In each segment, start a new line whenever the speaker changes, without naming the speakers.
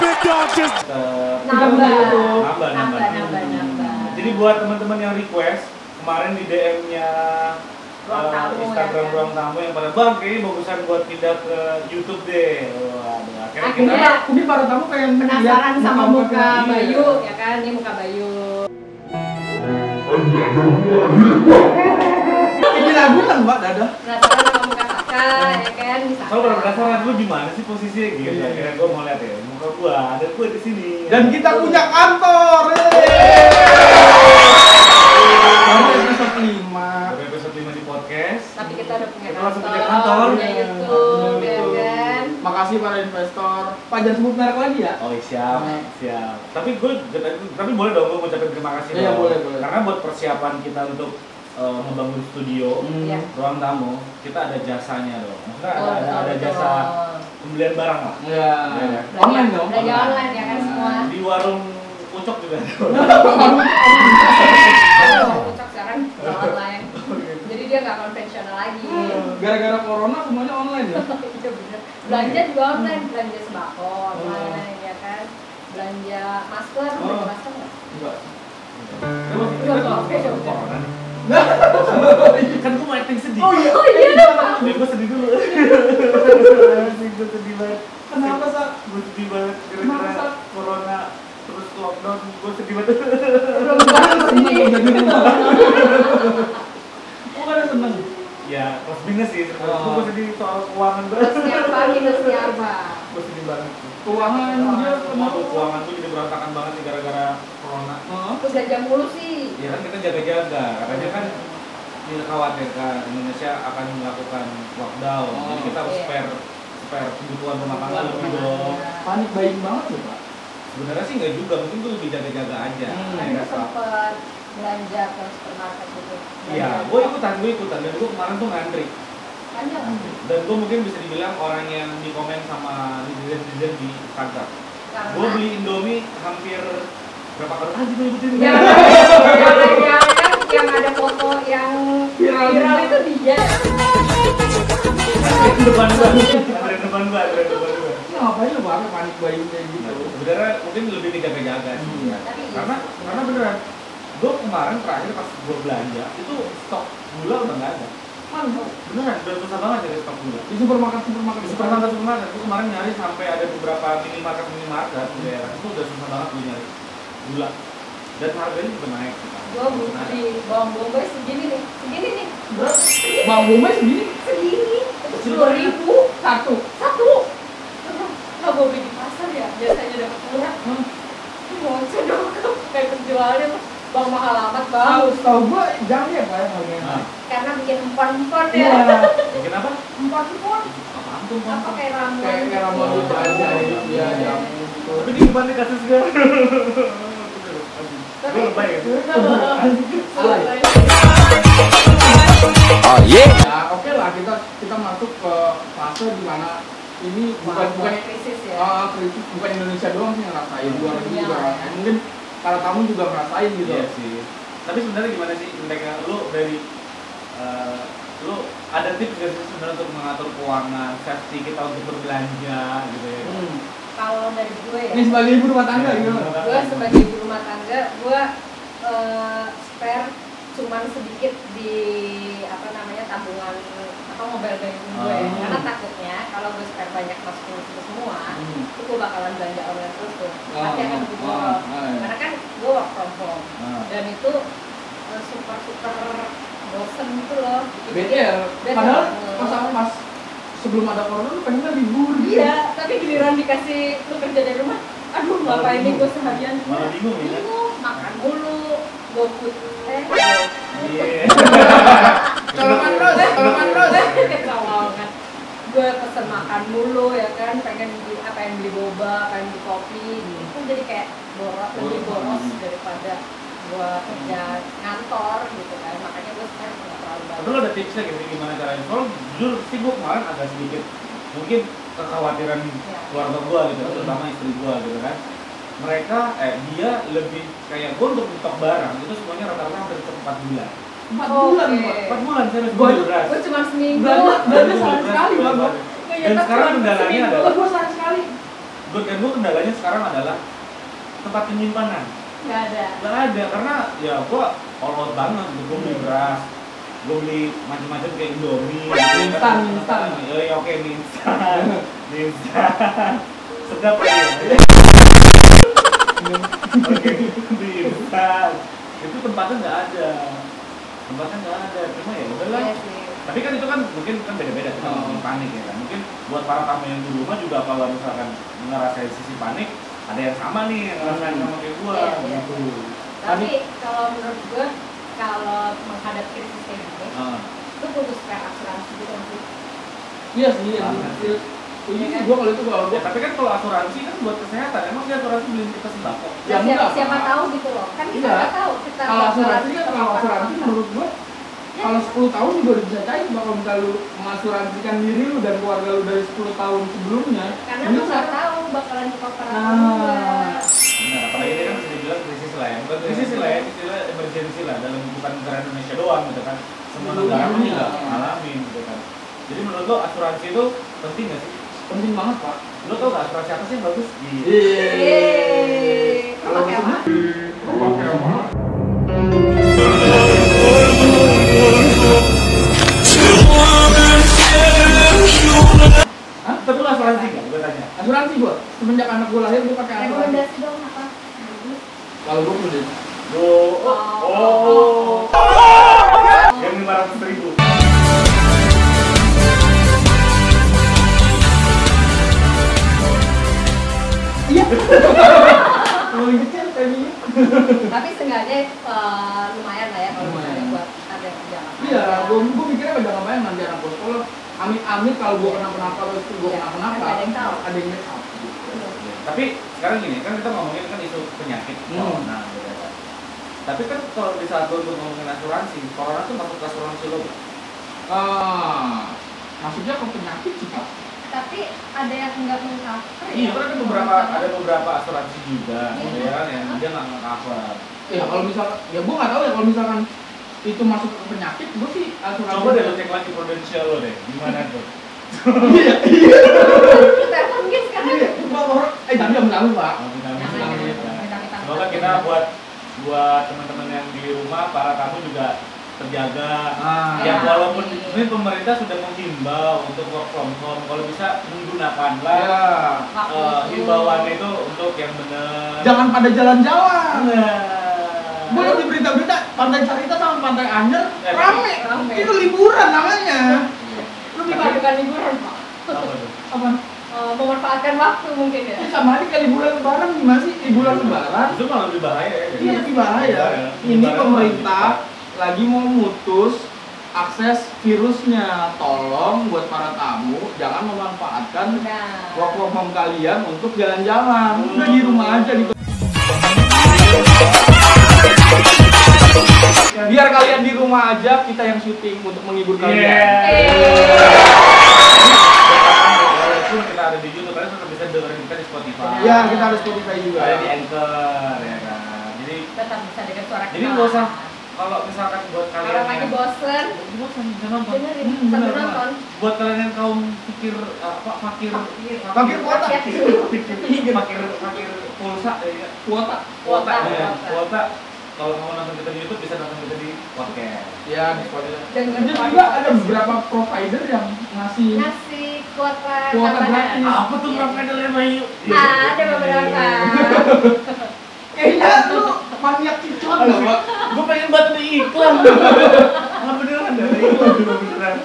artis.
nambah
Nambah, nambah.
nambah nambah
Jadi buat teman-teman yang request kemarin di DM-nya
Ruang
eh,
tamu,
Instagram
ya kan?
ruang tamu yang pada bang kayaknya bagusan buat pindah ke YouTube deh. Waduh, akhirnya kita
Akhirnya.
Ini para tamu pengen
penasaran
lihat
sama muka
orang.
Bayu ya kan ini muka Bayu
Ini lagu kan Mbak Dada.
penasaran sama muka Saka ya kan bisa
Kalau pernah penasaran lu gimana sih posisinya gitu.
Iya.
Akhirnya gua mau lihat ya muka gua ada gua di sini.
Dan kita punya kantor. ya, yeay. Baru episode lima.
Sampai episode 5 di podcast.
tapi kita udah punya
Kita
kantor,
langsung punya kantor.
punya YouTube ya kan
Makasih para investor. Pak jangan sebut merek lagi ya.
Oh siap,
Nah.
siap. Tapi gue, tapi boleh dong gue ngucapin terima kasih.
Iya,
dong.
boleh, boleh.
Karena buat persiapan kita untuk eh, membangun studio,
Hmm.
Iya.
ruang tamu, kita ada jasanya dong. Maksudnya ada,
Oh,
ada, ada
betul,
jasa
betul.
pembelian barang lah.
Iya.
Iya.
Online dong.
Belanja online ya kan semua.
Di warung pucuk juga.
Kalau pucuk sekarang udah online. Jadi dia nggak konvensional lagi.
Gara-gara corona semuanya online ya.
Iya bener. Belanja juga online, belanja sembako online ya kan. Belanja masker, belanja
Oh.
masker nggak?
Enggak.
Lu masih
Iya,
ingat
Pak.
lu masuk corona nih? Kan gue makin sedih.
iya.
Oh iya dong. Pak. Iya.
Nih, gue sedih dulu. Asik, gue sedih banget.
Kenapa Sa?
Gue sedih banget
Masa?
gara-gara corona terus lockdown. Gue sedih banget.
Belum tahu
Seneng
Iya sih.
jadi rumah. Kok ada seneng?
ya plus minus sih sebenarnya
Oh.
gue sedih soal keuangan banget
Siapa kita siapa?
gue sedih banget
Keuangan dia
semua
kenapa?
tuh keuangan gue jadi berantakan banget nih gara-gara corona
Hah?
Terus belanja mulu sih.
ya kan kita jaga-jaga katanya kan dikhawatirkan Indonesia akan melakukan lockdown
Oh.
jadi kita harus
Iya.
spare spare kebutuhan rumah tangga lebih dong
Panik baik banget ya Pak.
sebenarnya sih nggak juga mungkin gue lebih jaga-jaga aja
Hmm.
ya
Nah, gue
nggak apa
sempet belanja ke supermarket gitu.
iya gue ikutan gue ikutan dan gue kemarin tuh ngantri
Panjang.
dan gue mungkin bisa dibilang orang yang dikomen sama netizen-netizen di Instagram
Karena-
gue beli Indomie hampir berapa kali aja gue ikutin
Jangan, jangan, jangan yang ada foto yang
Iya.
Viral.
viral itu dia.
Antrean depan gua antrean depan gua antrean depan gua
Ini ngapain lu Pak? Panik baik kayak gitu.
sebenarnya mungkin lebih dijaga jaga sih ya.
Iya.
Tapi iya.
karena karena beneran gue kemarin terakhir pas gue belanja itu stok gula udah nggak ada
Mantap.
beneran udah susah banget cari stok gula
Di supermarket supermarket
di supermarket supermarket gue kemarin nyari sampai ada beberapa minimarket minimarket di daerah itu udah susah banget gue nyari gula dan harganya juga naik
Gua beli bawang bombay segini nih, segini nih,
Berapa? Bang Bombay segini
segini. Terus
Kecil
dua ribu
satu.
satu. Nggak gue beli di pasar ya, biasanya dapat murah.
Hah?
Ini Moncer dong, kayak penjualnya tuh. bang mahal amat bang.
Tahu tahu gua jangan ya Pak ya harganya.
nah,
Karena bikin empon-empon
Iya.
ya,
bikin apa?
empon-empon.
apaan tuh Bang?
Apa kayak ramuan?
Kayak kayak ramuan
Oh,
gitu aja
iya.
ya. jamu gitu.
Tapi di depan di kasus gue.
Tapi-
Gue lebay ya.
Iya, Salah ya?
Oh yeah.
Ya, oke lah kita kita masuk ke fase di mana ini bukan bukan
krisis ya.
ah, kritis bukan Indonesia doang sih yang ngerasain, luar negeri
Iya.
juga ngerasain. Mungkin para tamu juga ngerasain gitu.
Iya sih. Tapi sebenarnya gimana sih mereka lu dari eh, lu ada tips gak sih sebenarnya untuk mengatur keuangan, safety kita untuk berbelanja gitu ya.
Hmm.
Kalau dari gue ya.
Ini sebagai ibu rumah tangga gitu.
gue sebagai ibu rumah tangga gue eh, spare cuman sedikit di apa namanya tabungan atau mobile banking gue
Ah.
karena takutnya kalau gue spare banyak masukin itu semua
Hmm.
itu gue bakalan belanja online terus tuh
Ah,
pasti akan gue
ah, ah, iya.
karena kan gue work from home
Ah.
dan itu eh, super super bosen gitu loh
Beda ya.
Beda
Padahal
banget.
pas pas sebelum ada corona lu pengennya libur. gitu.
Iya, tapi giliran dikasih lu kerja dari rumah, aduh
Malah
ngapain
bingung.
nih gue seharian?
Malah bingung ya.
Bingung, makan mulu, gofood eh,
Iya.
Tolongan terus, tolongan terus.
kecolongan. Gue pesen makan mulu ya kan, pengen beli apa yang beli boba, pengen beli kopi, gitu. itu jadi kayak boros, lebih boros daripada gue kerja kantor gitu kan, makanya gue sekarang nggak terlalu
Tapi
banyak.
lu ada tipsnya gitu gimana caranya? Soalnya jujur sih gue kemarin agak sedikit mungkin kekhawatiran
Iya.
keluarga gue gitu, terutama istri gue gitu kan. Mereka, eh dia lebih kayak gue untuk nyetok barang itu semuanya rata-rata hampir cukup 4 bulan.
Empat bulan
Oke.
Pak.
4 bulan serius
Gua-
beli beras.
Gue cuma seminggu. Iya,
Belanja belanja
Beli
sama
beras,
sekali Iya,
beli
Bang.
beras.
Ngeyetak
Dan sekarang
cuma
kendalanya
seminggu.
adalah
Gua sayang sekali.
gue dan gue kendalanya sekarang adalah tempat penyimpanan
nggak ada
nggak ada karena ya gue all out banget gue beli beras gue beli macam-macam kayak indomie gitu
Iya. Mie instan, mie instan.
ya ya, oke mie instan mie instan sedap ya oke mie instan itu tempatnya nggak ada tempatnya nggak ada cuma ya udahlah
Iya sih.
tapi kan itu kan mungkin kan beda-beda kita
Oh.
ngomongin panik ya kan mungkin buat para tamu yang di rumah juga kalau misalkan ngerasain sisi panik ada yang sama nih yang ngerasain sama kayak gua
Iya, iya.
Hmm. gitu
tapi kalau menurut gue kalau menghadap krisis kayak gini
Ah,
itu putus kayak asuransi gitu kan sih
Iya sih, iya sih. Iya. Iya sih, gua kalau itu gua
ya, tapi kan kalau asuransi kan buat kesehatan emang dia asuransi beliin kita sembako
Ya,
Nah, siapa,
enggak.
siapa tahu gitu loh kan kita
Iya.
nggak tahu kita
kalau asuransi kan
kita
kalau
bakal
asuransi
apa.
menurut gua
Ya,
kalau 10 tahun juga udah bisa cair kalau misalnya lu mengasuransikan diri lu dan keluarga lu dari 10 tahun sebelumnya
karena
ini
lu nggak
sekarang-
tahu bakalan dikoper apa
Iya. Nah.
enggak
benar apalagi dia kan bisa dibilang krisis lah ya bukan krisis lah ya istilah emergency lah dalam bukan negara Indonesia doang gitu kan semua
Seluruh
negara pun
dunia.
juga ngalamin gitu kan jadi menurut lo asuransi itu penting gak sih
penting banget pak
lo tau gak asuransi apa sih yang bagus di
Yeay.
Iya. Kalau
Pakai apa?
pakai apa?
Hah? tapi lo asuransi gak gue tanya
Asuransi gua, semenjak anak gua lahir gua pakai asuransi.
rekomendasi dong apa bagus
Kalau gua udah
Yo, oh,
Oh.
yang lima ratus ribu.
Iya. Kalau gitu kan timingnya.
tapi seenggaknya eh, lumayan lah ya kalau
Lumayan.
misalnya buat ada kerjaan
Iya, gua gua mikirnya pada ngapain nanti anak gua sekolah. Amit-amit kalau gua kenapa-napa terus gua
Iya,
kenapa-napa.
kan ada yang tahu.
Ada yang tahu. gitu.
Tapi sekarang gini, kan kita ngomongin kan isu penyakit
Hmm.
corona, gitu kan. Tapi kan kalau di saat lo untuk ngomongin asuransi, corona tuh masuk ke asuransi lo. nggak?
Ah, maksudnya ke penyakit sih Pak.
tapi ada yang nggak mengcover
Iya, kan ada beberapa ada beberapa asuransi juga,
Iya.
gitu kan, yang dia nggak nge-cover.
Ya kalau misalkan, ya gua nggak tahu ya kalau misalkan itu masuk ke penyakit, gua sih ah, asuransi.
Coba deh lo cek lagi prudensial lo deh, gimana tuh?
Iya, iya.
kita mungkin sekarang
Gua orang, eh tapi yang tahu Pak.
Kalau kita
Jangan,
misalnya,
jangan,
ya.
jangan, jangan.
Semoga kita buat buat teman-teman yang di rumah, para tamu juga terjaga,
Ah,
Ya walaupun ini pemerintah sudah menghimbau untuk work from home, kalau bisa menggunakanlah
ya.
eh, himbauan itu untuk yang benar.
Jangan pada jalan-jalan.
Nah.
Gue liat di berita-berita Pantai Carita sama Pantai Anyer
Eh,
rame.
rame.
Itu liburan namanya. Lu
bukan
bisa
bukan liburan pak
Apa tuh?
apa?
Eh, memanfaatkan waktu mungkin ya
Ini sama aja kayak liburan lebaran gimana sih?
Iya.
Liburan lebaran.
Itu malah lebih bahaya ya.
Ini Iya, lebih bahaya.
iya.
Ini
Lebaran
pemerintah lagi mau mutus akses virusnya. Tolong buat para tamu jangan memanfaatkan
nah
work from home kalian untuk jalan-jalan. Udah di rumah aja gitu. di biar kalian di rumah aja kita yang syuting untuk menghibur
Iya.
kalian.
Walaupun kita ada di YouTube, kalian tetap bisa dengerin kita di Spotify.
Ya, kita harus Spotify juga.
Ada di Anchor ya kan. Jadi
tetap bisa dengar suara kita
Jadi nggak usah kalau misalkan buat kalian
kalau lagi
yang-
bosen
bosan bisa nonton.
dengerin
Hmm,
sambil
benar, Pak.
nonton
buat kalian yang kaum pikir apa fakir
Fakir kuota.
fakir fakir pulsa ya
Iya, Kuota. Iya,
Kuota.
ya kuota kalau mau nonton kita di YouTube bisa nonton kita di podcast
Ya, di Spotify.
dengar
Dan
suara
juga
kita.
Iya, ada beberapa provider yang ngasih
nasi kuota
Kuota
tambahan.
gratis.
Ya, apa tuh provider yang bayu
iya. ada beberapa
kayaknya Iya, lu maniak cicot loh, Pak.
gue pengen buat beli iklan nggak beneran ada iklan beneran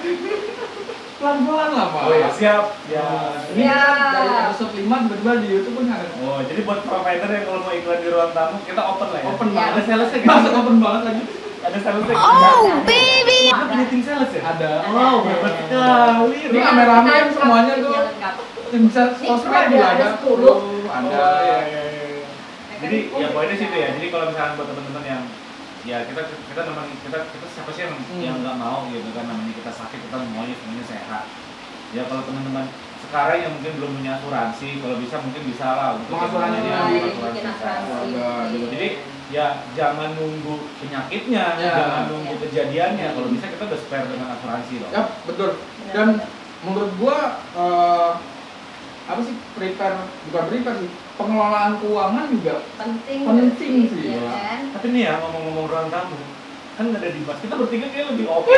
Pelan-pelan lah, Pak.
oh ya siap ya
Ini
Ya.
kan dari episode 5 tiba-tiba di YouTube pun ada
oh jadi buat provider yang kalau mau iklan di ruang tamu kita open lah ya
open
Ya.
ada
banget.
salesnya gitu
Masuk open banget lagi.
ada salesnya
Oh,
baby.
Ada punya tim sales ya
Ada.
wow hebat sekali
Ini
Ron.
kameramen semuanya tuh. Tim sales
Ini
sosmed
ada,
juga
ada
ada.
10.
Ada.
Oh, iya, iya, iya. jadi ya poinnya situ ya jadi kalau misalnya buat teman-teman yang ya kita kita memang kita kita siapa sih yang
Hmm.
yang nggak mau gitu kan namanya kita sakit kita semuanya semuanya sehat ya kalau teman-teman sekarang yang mungkin belum punya asuransi kalau bisa mungkin bisa lah untuk
Mengasuransi.
yang punya Nah,
Mulai
Oh, Iya, bikin asuransi.
Keluarga, gitu.
jadi ya jangan nunggu penyakitnya
Ya.
jangan nunggu kejadiannya kalau bisa kita udah
Ya,
spare dengan asuransi loh
Yap, betul. Dan menurut gua eh, apa sih prepare bukan prepare sih pengelolaan keuangan juga
penting
Penting sih,
ya
ya.
kan
Tapi nih ya ngomong-ngomong ruang tamu, kan nggak ada Dimas. Kita bertiga kayak lebih oke.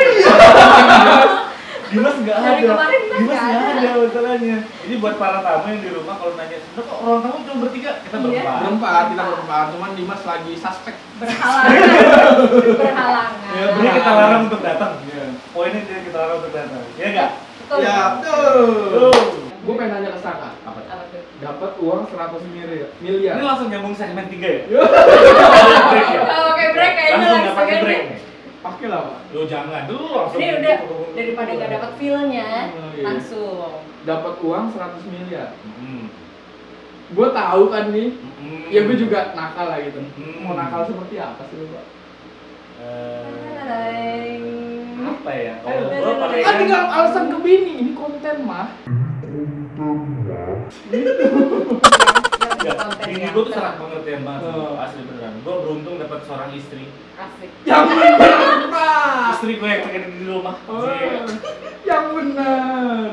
Dimas nggak ada.
Iya. Dari kemarin Dimas
Dimas
nggak
nggak ada masalahnya. Jadi buat para tamu yang di rumah kalau nanya sebenarnya kok ruang tamu cuma bertiga, kita
Iya.
berempat.
berempat kita berempat cuman Dimas lagi suspek
Iya,
berhalangan berhalangan
Ya, beri kita larang untuk datang. Iya. Poinnya dia kita larang untuk datang. Iya nggak?
Betul.
ya betul
Tuh.
gue pengen nanya ke Saka
Apa?
Apa tuh?
dapat uang 100 miliar
Ini
miliar
langsung nyambung segmen 3 ya?
Yo.
Break ya?
Oh, oke, break kayaknya
Langsung nggak
langsung
pakai
aja.
break nih.
pakai lah pak
Lo jangan dulu langsung.
ini udah daripada nggak dapat feelnya
Oh, iya.
langsung
dapat uang 100 miliar
Hmm.
gue tahu kan nih
Hmm.
ya gue juga nakal lah gitu
Hmm.
mau nakal seperti apa sih lu pak
Eh, apa ya? Kalau
Aduh,
gue
aduh,
pakai Iya.
aduh.
kan tinggal alasan ke bini ini konten mah
Ya, eh,
Enggak, Iya, Bini gue tuh sangat pengertian banget ya,
Oh.
asli beneran. Gue beruntung dapat seorang istri.
asik Ah.
yang benar
Istri gue yang pengen di rumah.
Oh,
Iya.
yang benar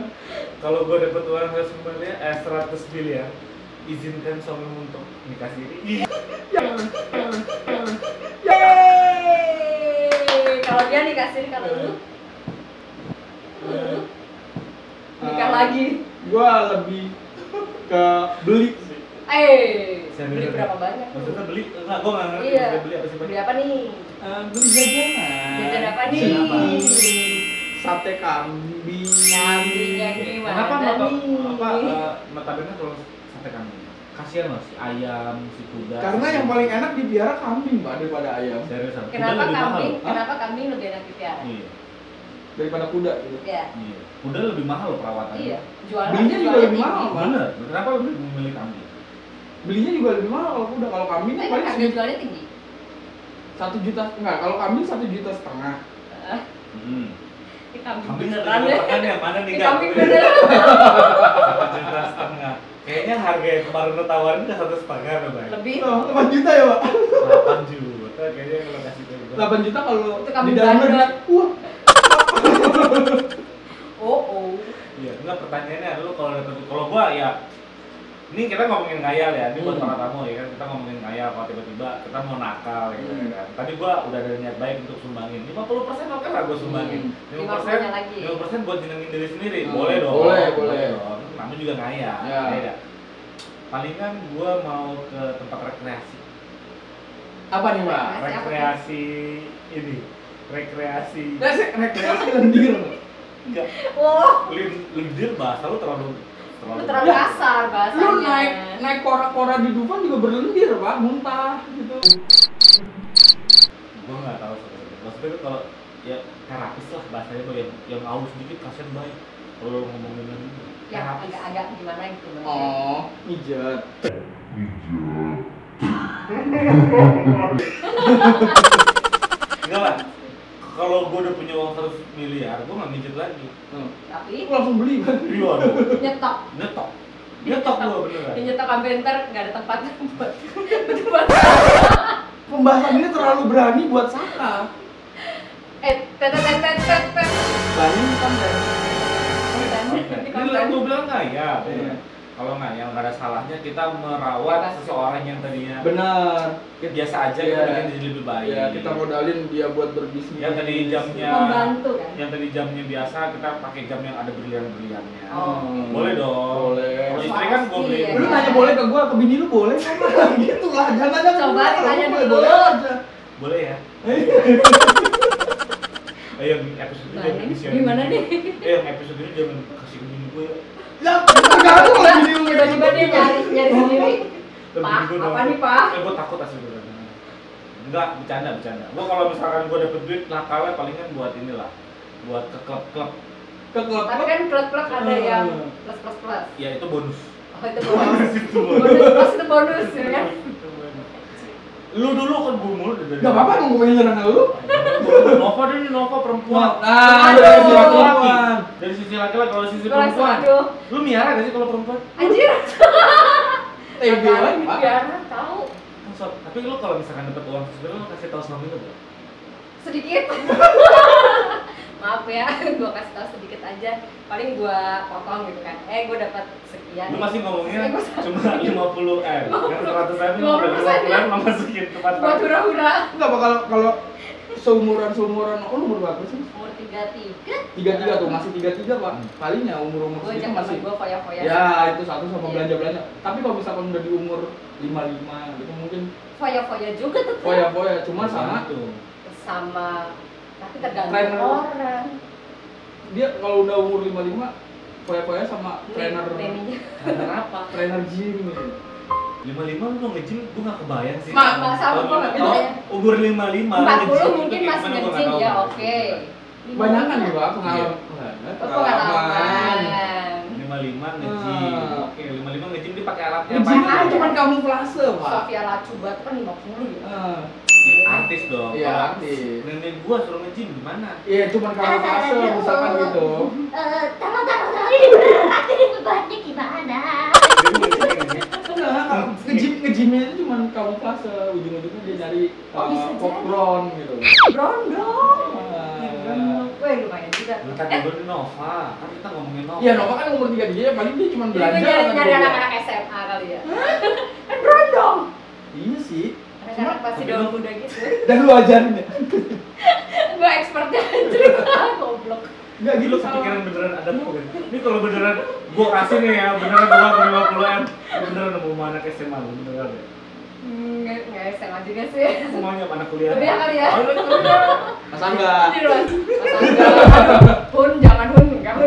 Kalau gue dapat uang seratus miliar, eh seratus miliar, izinkan suami untuk nikah siri.
Iya.
yang
Yeay. kalau dia dikasih kalau lu
Eh, eh,
nikah lagi
gue Ah, lebih ke beli sih
eh
Saya
beli
bener.
berapa banyak tuh?
Maksudnya beli? Enggak, gue nggak ngerti.
Iya.
maksudnya Beli apa sih? Bang?
beli apa nih
Eh, beli jajanan
jajan apa nih
Jajan apa?
sate kambing
Kambingnya gimana
Kenapa mata
nih?
apa eh, notabene kalau sate kambing? Kasihan loh si ayam, si kuda.
karena yang paling enak dipiara kambing pak daripada ayam
serius Sam. Kuda
kenapa
lebih mahal.
kambing
Hah?
kenapa kambing gitu lebih enak dipiara
Iya.
daripada kuda gitu
ya
Iya. Kuda lebih mahal loh perawatannya.
iya jualan
Belinya juga
jualan
lebih
tinggi.
mahal, Pak.
Bener. Kenapa lebih memilih kambing?
belinya juga lebih mahal kalau kuda kalau kambing
Tapi
tuh
kan
paling
harga
segitu
jualnya tinggi
satu juta enggak kalau kambing satu juta setengah
Eh,
Hmm.
ini kambing
Kambing
beneran
satu
deh
juta setengah yang mana nih
Ini
Kak?
kambing beneran
Satu juta setengah. Kayaknya harga yang kemarin lo tawarin udah satu setengah udah baik.
lebih oh,
Loh,
oh,
8 juta ya pak
Delapan juta kayaknya kalau kasih ke gue.
8 juta kalau
Itu kambing
di dalam
bandel.
negeri, wah
oh oh
Iya. Enggak pertanyaannya lu kalau dapet kalau gua ya ini kita ngomongin ngayal ya, ini buat
Hmm.
para tamu ya kan kita ngomongin ngayal kalau tiba-tiba kita mau nakal gitu ya
Hmm.
kan. Tadi gua udah ada niat baik untuk sumbangin. 50% oke lah gua sumbangin.
Hmm.
50% -nya lagi.
50% buat nyenengin diri sendiri.
Hmm.
Boleh dong.
Boleh, boleh.
dong. Namun juga ngayal.
Ya.
Beda. Palingan gua mau ke tempat rekreasi.
apa nih pak
Rekreasi apa tuh?
Rekreasi ini. Rekreasi.
Nah, sih, rekreasi lendir.
Enggak.
oh
Lim- Lindir bahasa lu terlalu
lu terlalu kasar bahasanya
Lu naik naik kora-kora di Dufan juga berlendir, Pak. Muntah gitu.
gue nggak tahu sebenarnya maksudnya tuh kalau ya terapis lah bahasanya tuh yang yang halus dikit kasian baik kalau ngomongin yang itu
yang
terapis
agak-agak gimana gitu maksudnya.
Oh, mijet.
enggak lah kalau gue udah punya uang 100 miliar gue nggak mijit lagi
Tuh.
tapi
Aku langsung beli, Pak.
iya waduh
nyetok
nyetok nyetok gue beneran
Dia nyetok sampai ntar nggak ada tempat buat buat
Pembahasan ini terlalu berani buat Saka.
eh tet tet tet tet tet
Berani kan berani.
Bukan,
Oke.
di
ini
konten.
lah gue bilang nggak ya
Iya.
kalau nggak ya nggak ada salahnya kita merawat seseorang yang tadinya
Benar.
biasa aja
Iya.
kita bikin jadi lebih baik
Ya, kita modalin dia buat berbisnis.
Yang tadi jamnya.
membantu kan
yang tadi jamnya biasa kita pakai jam yang ada berlian-berliannya
Oh.
boleh dong Kalau
Boleh.
istri kan gue beli
Pasti, ya.
Lu nanya boleh ke gua, ke bini lu boleh kan? gitu lah, jangan aja
Coba
boleh,
tanya
boleh,
dulu.
boleh aja.
boleh ya eh yang episode ini jangan
Balik,
disiarin.
Nah, gimana nih?
eh yang episode ini jangan kasih ke bini gue ya
Ya, tergantung lah bini lu.
tiba-tiba dia nyari nyari sendiri
Ntar
Pak,
bini gue
apa
nonton.
nih, Pak?
eh gue takut asli gue enggak bercanda bercanda gue kalau misalkan gue dapet duit nakalnya palingan buat inilah buat ke klub-klub
Ke klub.
tapi kan klub klub ada
Hmm.
yang plus plus plus
ya itu bonus
oh itu bonus
itu
bonus plus itu bonus ya kan
lu dulu kan gue mulu dari
Gak apa-apa ngomongin nyerang lu.
Nova deh nih Nova perempuan
Nah,
Aduh.
dari
dari
sisi
sisi laki dari sisi laki-laki
perempuan.
kalau sisi
gue langsung
perempuan
aduh
lu miara gak sih kalau perempuan
anjir
TB Eh, lagi, Pak.
Tiara tahu
Oh, Kan sob, tapi lu kalau misalkan dapet uang sebenarnya lu kasih tahu suami lu gak?
sedikit maaf ya gue kasih tau sedikit aja paling gue potong gitu kan eh gue dapat sekian
Lu masih ngomongnya
Eh, gua salah.
cuma 50 M. Yang 100 M lu
50
udah 50 M lo masukin ke
buat
pantai.
hura-hura
Enggak bakal kalau seumuran seumuran oh lu umur berapa sih?
umur tiga tiga
Tiga tiga tuh masih tiga tiga pak.
Hmm.
Paling ya umur umur
gue
segitu
ajak temen
masih.
gue foya-foya
Ya itu satu sama
Iya.
belanja belanja. Tapi kalau misalkan udah di umur lima lima gitu mungkin
foya-foya juga tetap
foya foya cuma
Iya.
sama
tuh.
sama tapi tergantung
Trainer.
orang
dia kalau udah umur 55 foya-foya sama
Iya,
trainer
Neninya.
trainer apa? Trainer gym gitu.
55 lu nge-gym gua enggak kebayang sih.
Ma- ma- sama, gua nggak
Oh,
kebayang.
Umur 55
empat puluh
nge-gym itu
mungkin
kayak gimana,
masih
gua nggak
ngejin
tahu.
ya oke ya?
Banyak kan juga pengalaman.
Oh, pengalaman
Iya. 55 nge-gym.
Hmm.
Ah.
Oke, 55 nge-gym dia pakai alatnya apa?
Gym kan
itu?
cuma kamuflase, Pak.
Sofia Lacuba tuh kan 50 ya
Eh,
Ya, Artis dong.
Iya, aktif.
Nenek gua suruh nge-gym gimana?
Iya, cuma kamuflase misalkan gitu.
Eh, taruh taruh taruh ini beneran aku ini bebannya gimana?
Dia nge-gym kayak gini.
Enggak, nge-gym nge-gymnya itu cuma kamuflase, ujung-ujungnya dia nyari
Oh, bisa
eh,
jadi. Iya,
popcorn gitu.
Brondong
Eh,
Weh lumayan juga
Lu kan ngobrol di Nova, kan kita ngomongin Nova.
Iya, Nova kan umur 33 ya paling dia cuma
Jadi gue
belanja
Iya, nyari,
kan
nyari
dulu.
anak-anak SMA kali ya Kan brondong
Iya sih.
Anak-anak pasti
tapi
doang
lu-
muda gitu
Dan lu ajarin ya.
Gue expertnya cerita goblok
Enggak
Lagi
gitu
lu
Iya,
salah.
kepikiran beneran ada program. Ini kalau beneran gua kasih nih ya, beneran gua ke 50 M. Lu beneran mau sama anak SMA lu beneran ya.
Hmm, Nggak nggak SMA juga sih
Semuanya sama anak kuliah.
Kuliah kali ya?
Oh, lu kuliah.
Mas Angga.
Di luar. Mas Angga, aduh, Hun, jangan hun, enggak hun.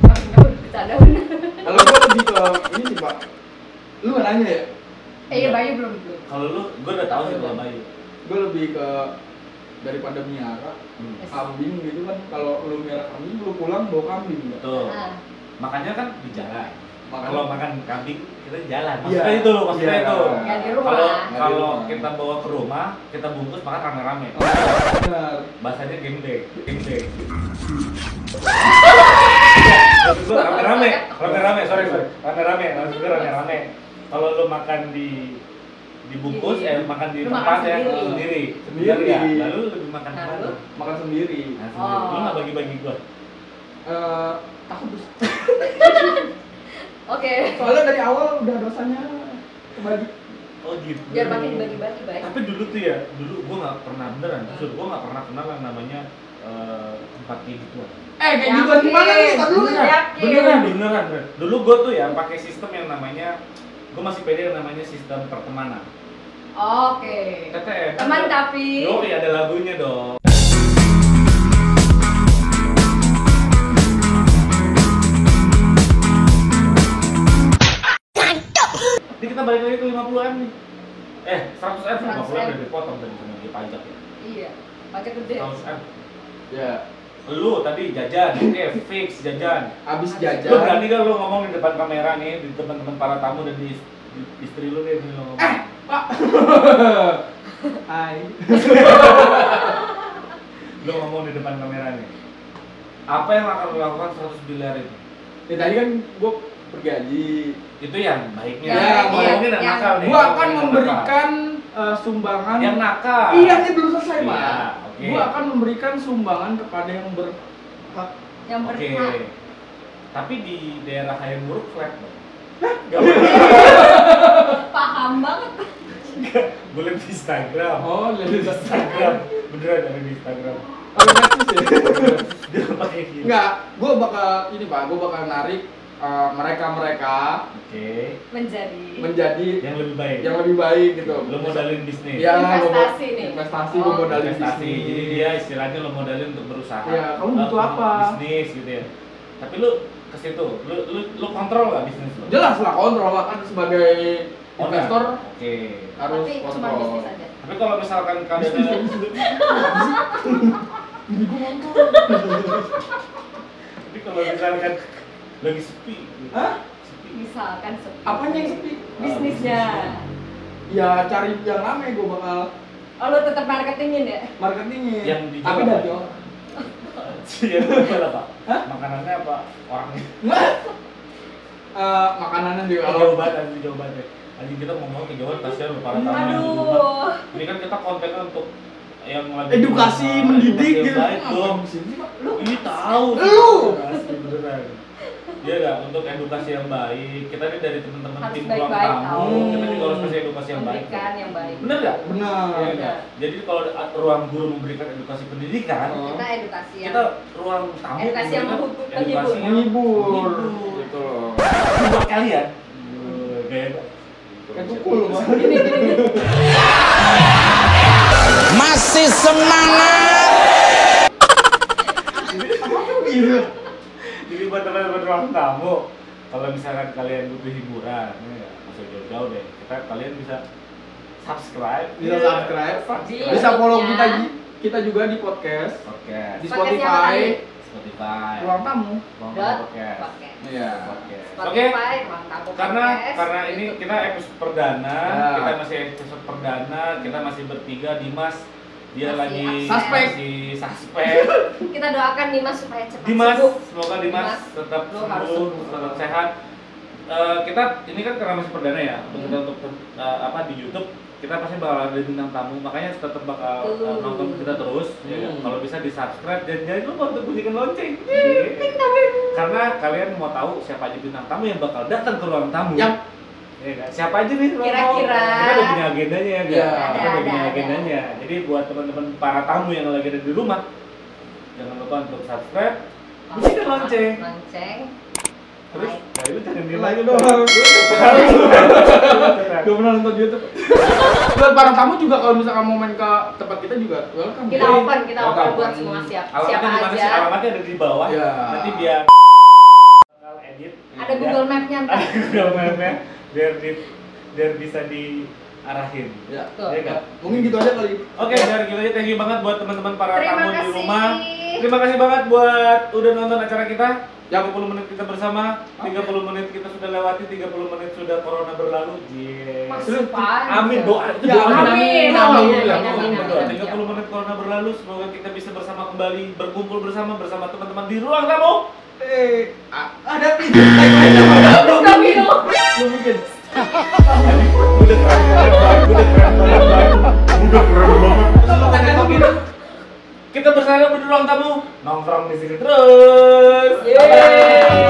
Jangan hun, bercanda hun. Eh,
Kalau gue lebih ke ini sih pak, lu nggak nanya ya?
Eh, iya, Bayu belum belum.
Kalau lu gua udah tahu sih kalau Bayu.
Gue lebih ke daripada miara kambing gitu kan kalau lu miara kambing lu pulang bawa kambing nggak?
Betul.
Ah,
Makanya kan di jalan.
Makan
Kalau makan kambing kita di jalan.
Iya.
Maksudnya itu loh, maksudnya
Iya.
itu.
nggak di rumah.
Kalau
Nggak di
kalau
rumah.
kita bawa ke rumah, kita bungkus makan rame-rame.
benar.
Bahasanya game day, game day. Maksud gua rame-rame, rame-rame, sorry sorry, rame-rame, maksud gua rame-rame. Kalau lu makan di dibungkus, eh makan di
Lu
tempat
makan
ya
sendiri.
sendiri,
Sendiri.
sendiri ya. Lalu lu lebih makan
Nah,
apa?
lu?
lu?
Makan sendiri.
Nah,
Eh
sendiri. Lu
Oh.
nggak bagi-bagi gua.
takut bos.
Oke,
Soalnya dari awal udah dosanya kebagi.
Oh gitu.
biar makin dibagi-bagi baik.
Tapi dulu tuh ya, dulu gua nggak pernah beneran. Jujur gua nggak pernah kenal yang namanya eh, tempat kayak gituan.
Eh kayak
Yakin.
gitu gimana nih? Ntar dulu
Beneran.
ya.
Yakin.
beneran beneran beneran. dulu gue tuh ya pakai sistem yang namanya gue masih pede yang namanya sistem pertemanan
Oke.
KTM
Teman tapi
yo ada lagunya dong Jadi kita balik lagi ke 50 m nih eh 100 m 50 m
100M.
udah dipotong dari sama dia pajak ya
iya. Pajak gede.
100 m
Ya,
lu tadi jajan oke fix jajan
abis
Lu
jajan.
berani gak lu ngomong di depan kamera nih, di teman-teman para tamu dan di, di istri lu nih lu ngomong.
Eh,
Hai.
Lu ngomong di depan kamera nih. Apa yang akan lu lakukan 100 miliar itu?
Ya tadi kan gue pergi haji.
Itu yang baiknya.
Ya,
yang
iya,
bohongnya dan
yang-
nakal nih.
Gue akan
Yang
memberikan eh, sumbangan
nakal. yang nakal.
Iya, ini belum selesai,
Iya,
Pak.
oke.
Gua akan memberikan sumbangan kepada yang berhak.
Yang
Oke.
berhak.
Tapi di daerah Hayam Muruk flat dong. Gak
Paham banget.
boleh di Instagram.
Oh,
Boleh
lebih
di
besar.
Instagram. Beneran ada di Instagram.
Kalau Netflix ya?
Dia pakai gitu.
Enggak, gua bakal ini, Pak. Gua bakal narik eh, mereka-mereka
Oke.
Menjadi
menjadi
Yang lebih baik.
yang lebih baik gitu.
Lu modalin bisnis.
Ya, gua mau-
Investasi nih.
Investasi gua
Oh.
modalin
investasi
bisnis.
jadi dia istilahnya lo modalin untuk berusaha
Iya, kamu
Lo
butuh apa?
bisnis gitu ya tapi lu ke situ lu, lu, lu kontrol nggak bisnis lo
Jelas lah kontrol Pak. kan sebagai
Owner.
investor
oke
harus
tapi cuma
kontrol.
bisnis aja.
tapi kalau misalkan keadaannya tapi kalau misalkan lagi sepi gitu.
Hah?
sepi
Misalkan sepi.
Apanya yang sepi?
Oh,
Bisnisnya.
Ya cari yang rame gua bakal
Oh, lu tetap marketingin ya?
marketingnya.
Yang dijual
Tapi
apa?
dari orang.
Iya, betul apa?
Hah?
Makanannya apa? Orangnya
Nggak. Eh, makanannya juga
kalau
kalau
jawaban anjing jawaban deh. Anjing kita ngomong ke jawaban kasihan lu para tamu yang di rumah.
Aduh.
Ini kan kita kontennya untuk yang lebih
edukasi
baik,
mendidik
yang
gitu
baik dong
Ngapain kesini sih, Pak?
lu ini tahu
Lu!
Edukasi beneran. Iya nggak untuk edukasi yang baik kita ini dari teman-teman
Harus
tim
baik-baik
ulang tamu
tahu.
kita juga harus kasih edukasi yang baik
Pendidikan yang baik.
bener nggak
Hmm. benar
Iya nggak? jadi kalau ada ruang guru memberikan edukasi pendidikan
Oh.
Kita edukasi yang
kita ruang tamu
Edukasi yang
memberikan
menghibur-
edukasi yang
menghibur
menghibur.
gitu loh
Ini buat kalian
Iya.
kayak
kayak tukul loh Pak.
Masih semangat.
gitu
Jadi buat teman-teman ruang tamu, kalau misalkan kalian butuh hiburan, ya, masuk jauh-jauh deh. Kita kalian bisa subscribe,
bisa subscribe
Iya.
bisa follow kita ji- kita juga di podcast
Oke,
di
Podcast yang
Spotify
tadi.
Spotify,
ruang tamu
Ruang
Dot.
Tamu podcast,
pakai.
iya
podcast. Oke,
Spotify, ruang tamu
karena
podcast,
karena ini
gitu.
kita episode perdana,
Ya.
kita masih episode perdana, kita masih bertiga Dimas dia
Masih
lagi
absen.
Suspek.
masih suspek.
kita doakan Dimas supaya cepat
Dimas,
sembuh.
semoga Dimas,
Dimas,
tetap
lu harus
sembuh,
sembuh.
tetap sehat. Eh, kita ini kan karena masih perdana ya, untuk kita
Hmm.
untuk eh, apa di YouTube kita pasti bakal ada bintang tamu, makanya tetap bakal eh,
Betul.
nonton kita terus. ya kan?
Hmm.
Kalau bisa di subscribe dan jangan lupa untuk bunyikan lonceng.
Iya,
Iya. karena kalian mau tahu siapa aja bintang tamu yang bakal datang ke ruang tamu.
Yap.
Ya kan? Siapa aja nih ruang tamu?
Kira-kira.
Kita udah punya agendanya ya,
Iya.
kan? Kita
Ada,
udah
ada,
punya
ada.
agendanya. Jadi buat teman-teman para tamu yang lagi ada di rumah, jangan lupa untuk subscribe Bunyikan kan lonceng.
Lonceng.
Terus,
Like.
nah itu jangan
Ini
diem
lagi
aja
dong.
dong.
Gak pernah nonton YouTube. Buat para tamu juga kalau misalkan mau main ke tempat kita juga welcome.
Kita
Jadi,
open, kita open
Welcome.
buat semua siap. Siapa
Alamatnya di mana sih?
aja.
Alamatnya ada di bawah.
Iya.
Nanti biar bakal edit.
Ada
Ya.
Google Map-nya ntar.
Ada Google Map-nya biar di biar bisa diarahin.
Ya.
Tuh.
Iya nggak?
Mungkin gitu aja kali.
Oke, dari kita aja thank you banget buat teman-teman para
Terima
tamu di
kasih.
rumah. Terima kasih banget buat udah nonton acara kita.
Ya.
30 menit kita bersama, 30 menit kita sudah lewati, 30 menit sudah corona berlalu. Yes.
Masih panjang.
Amin doa.
Ya,
Amin,
amin, amin, amin,
amin,
amin,
amin,
amin. ya.
amin.
30 menit corona berlalu, semoga kita bisa bersama kembali berkumpul bersama bersama teman-teman di ruang tamu.
Eh, a- ada pintu. Belum mungkin. Belum mungkin.
Udah keren banget, udah keren banget, udah keren banget.
Tanya kopi dong.
Kita bersama di ruang tamu, nongkrong di sini terus. Yeay.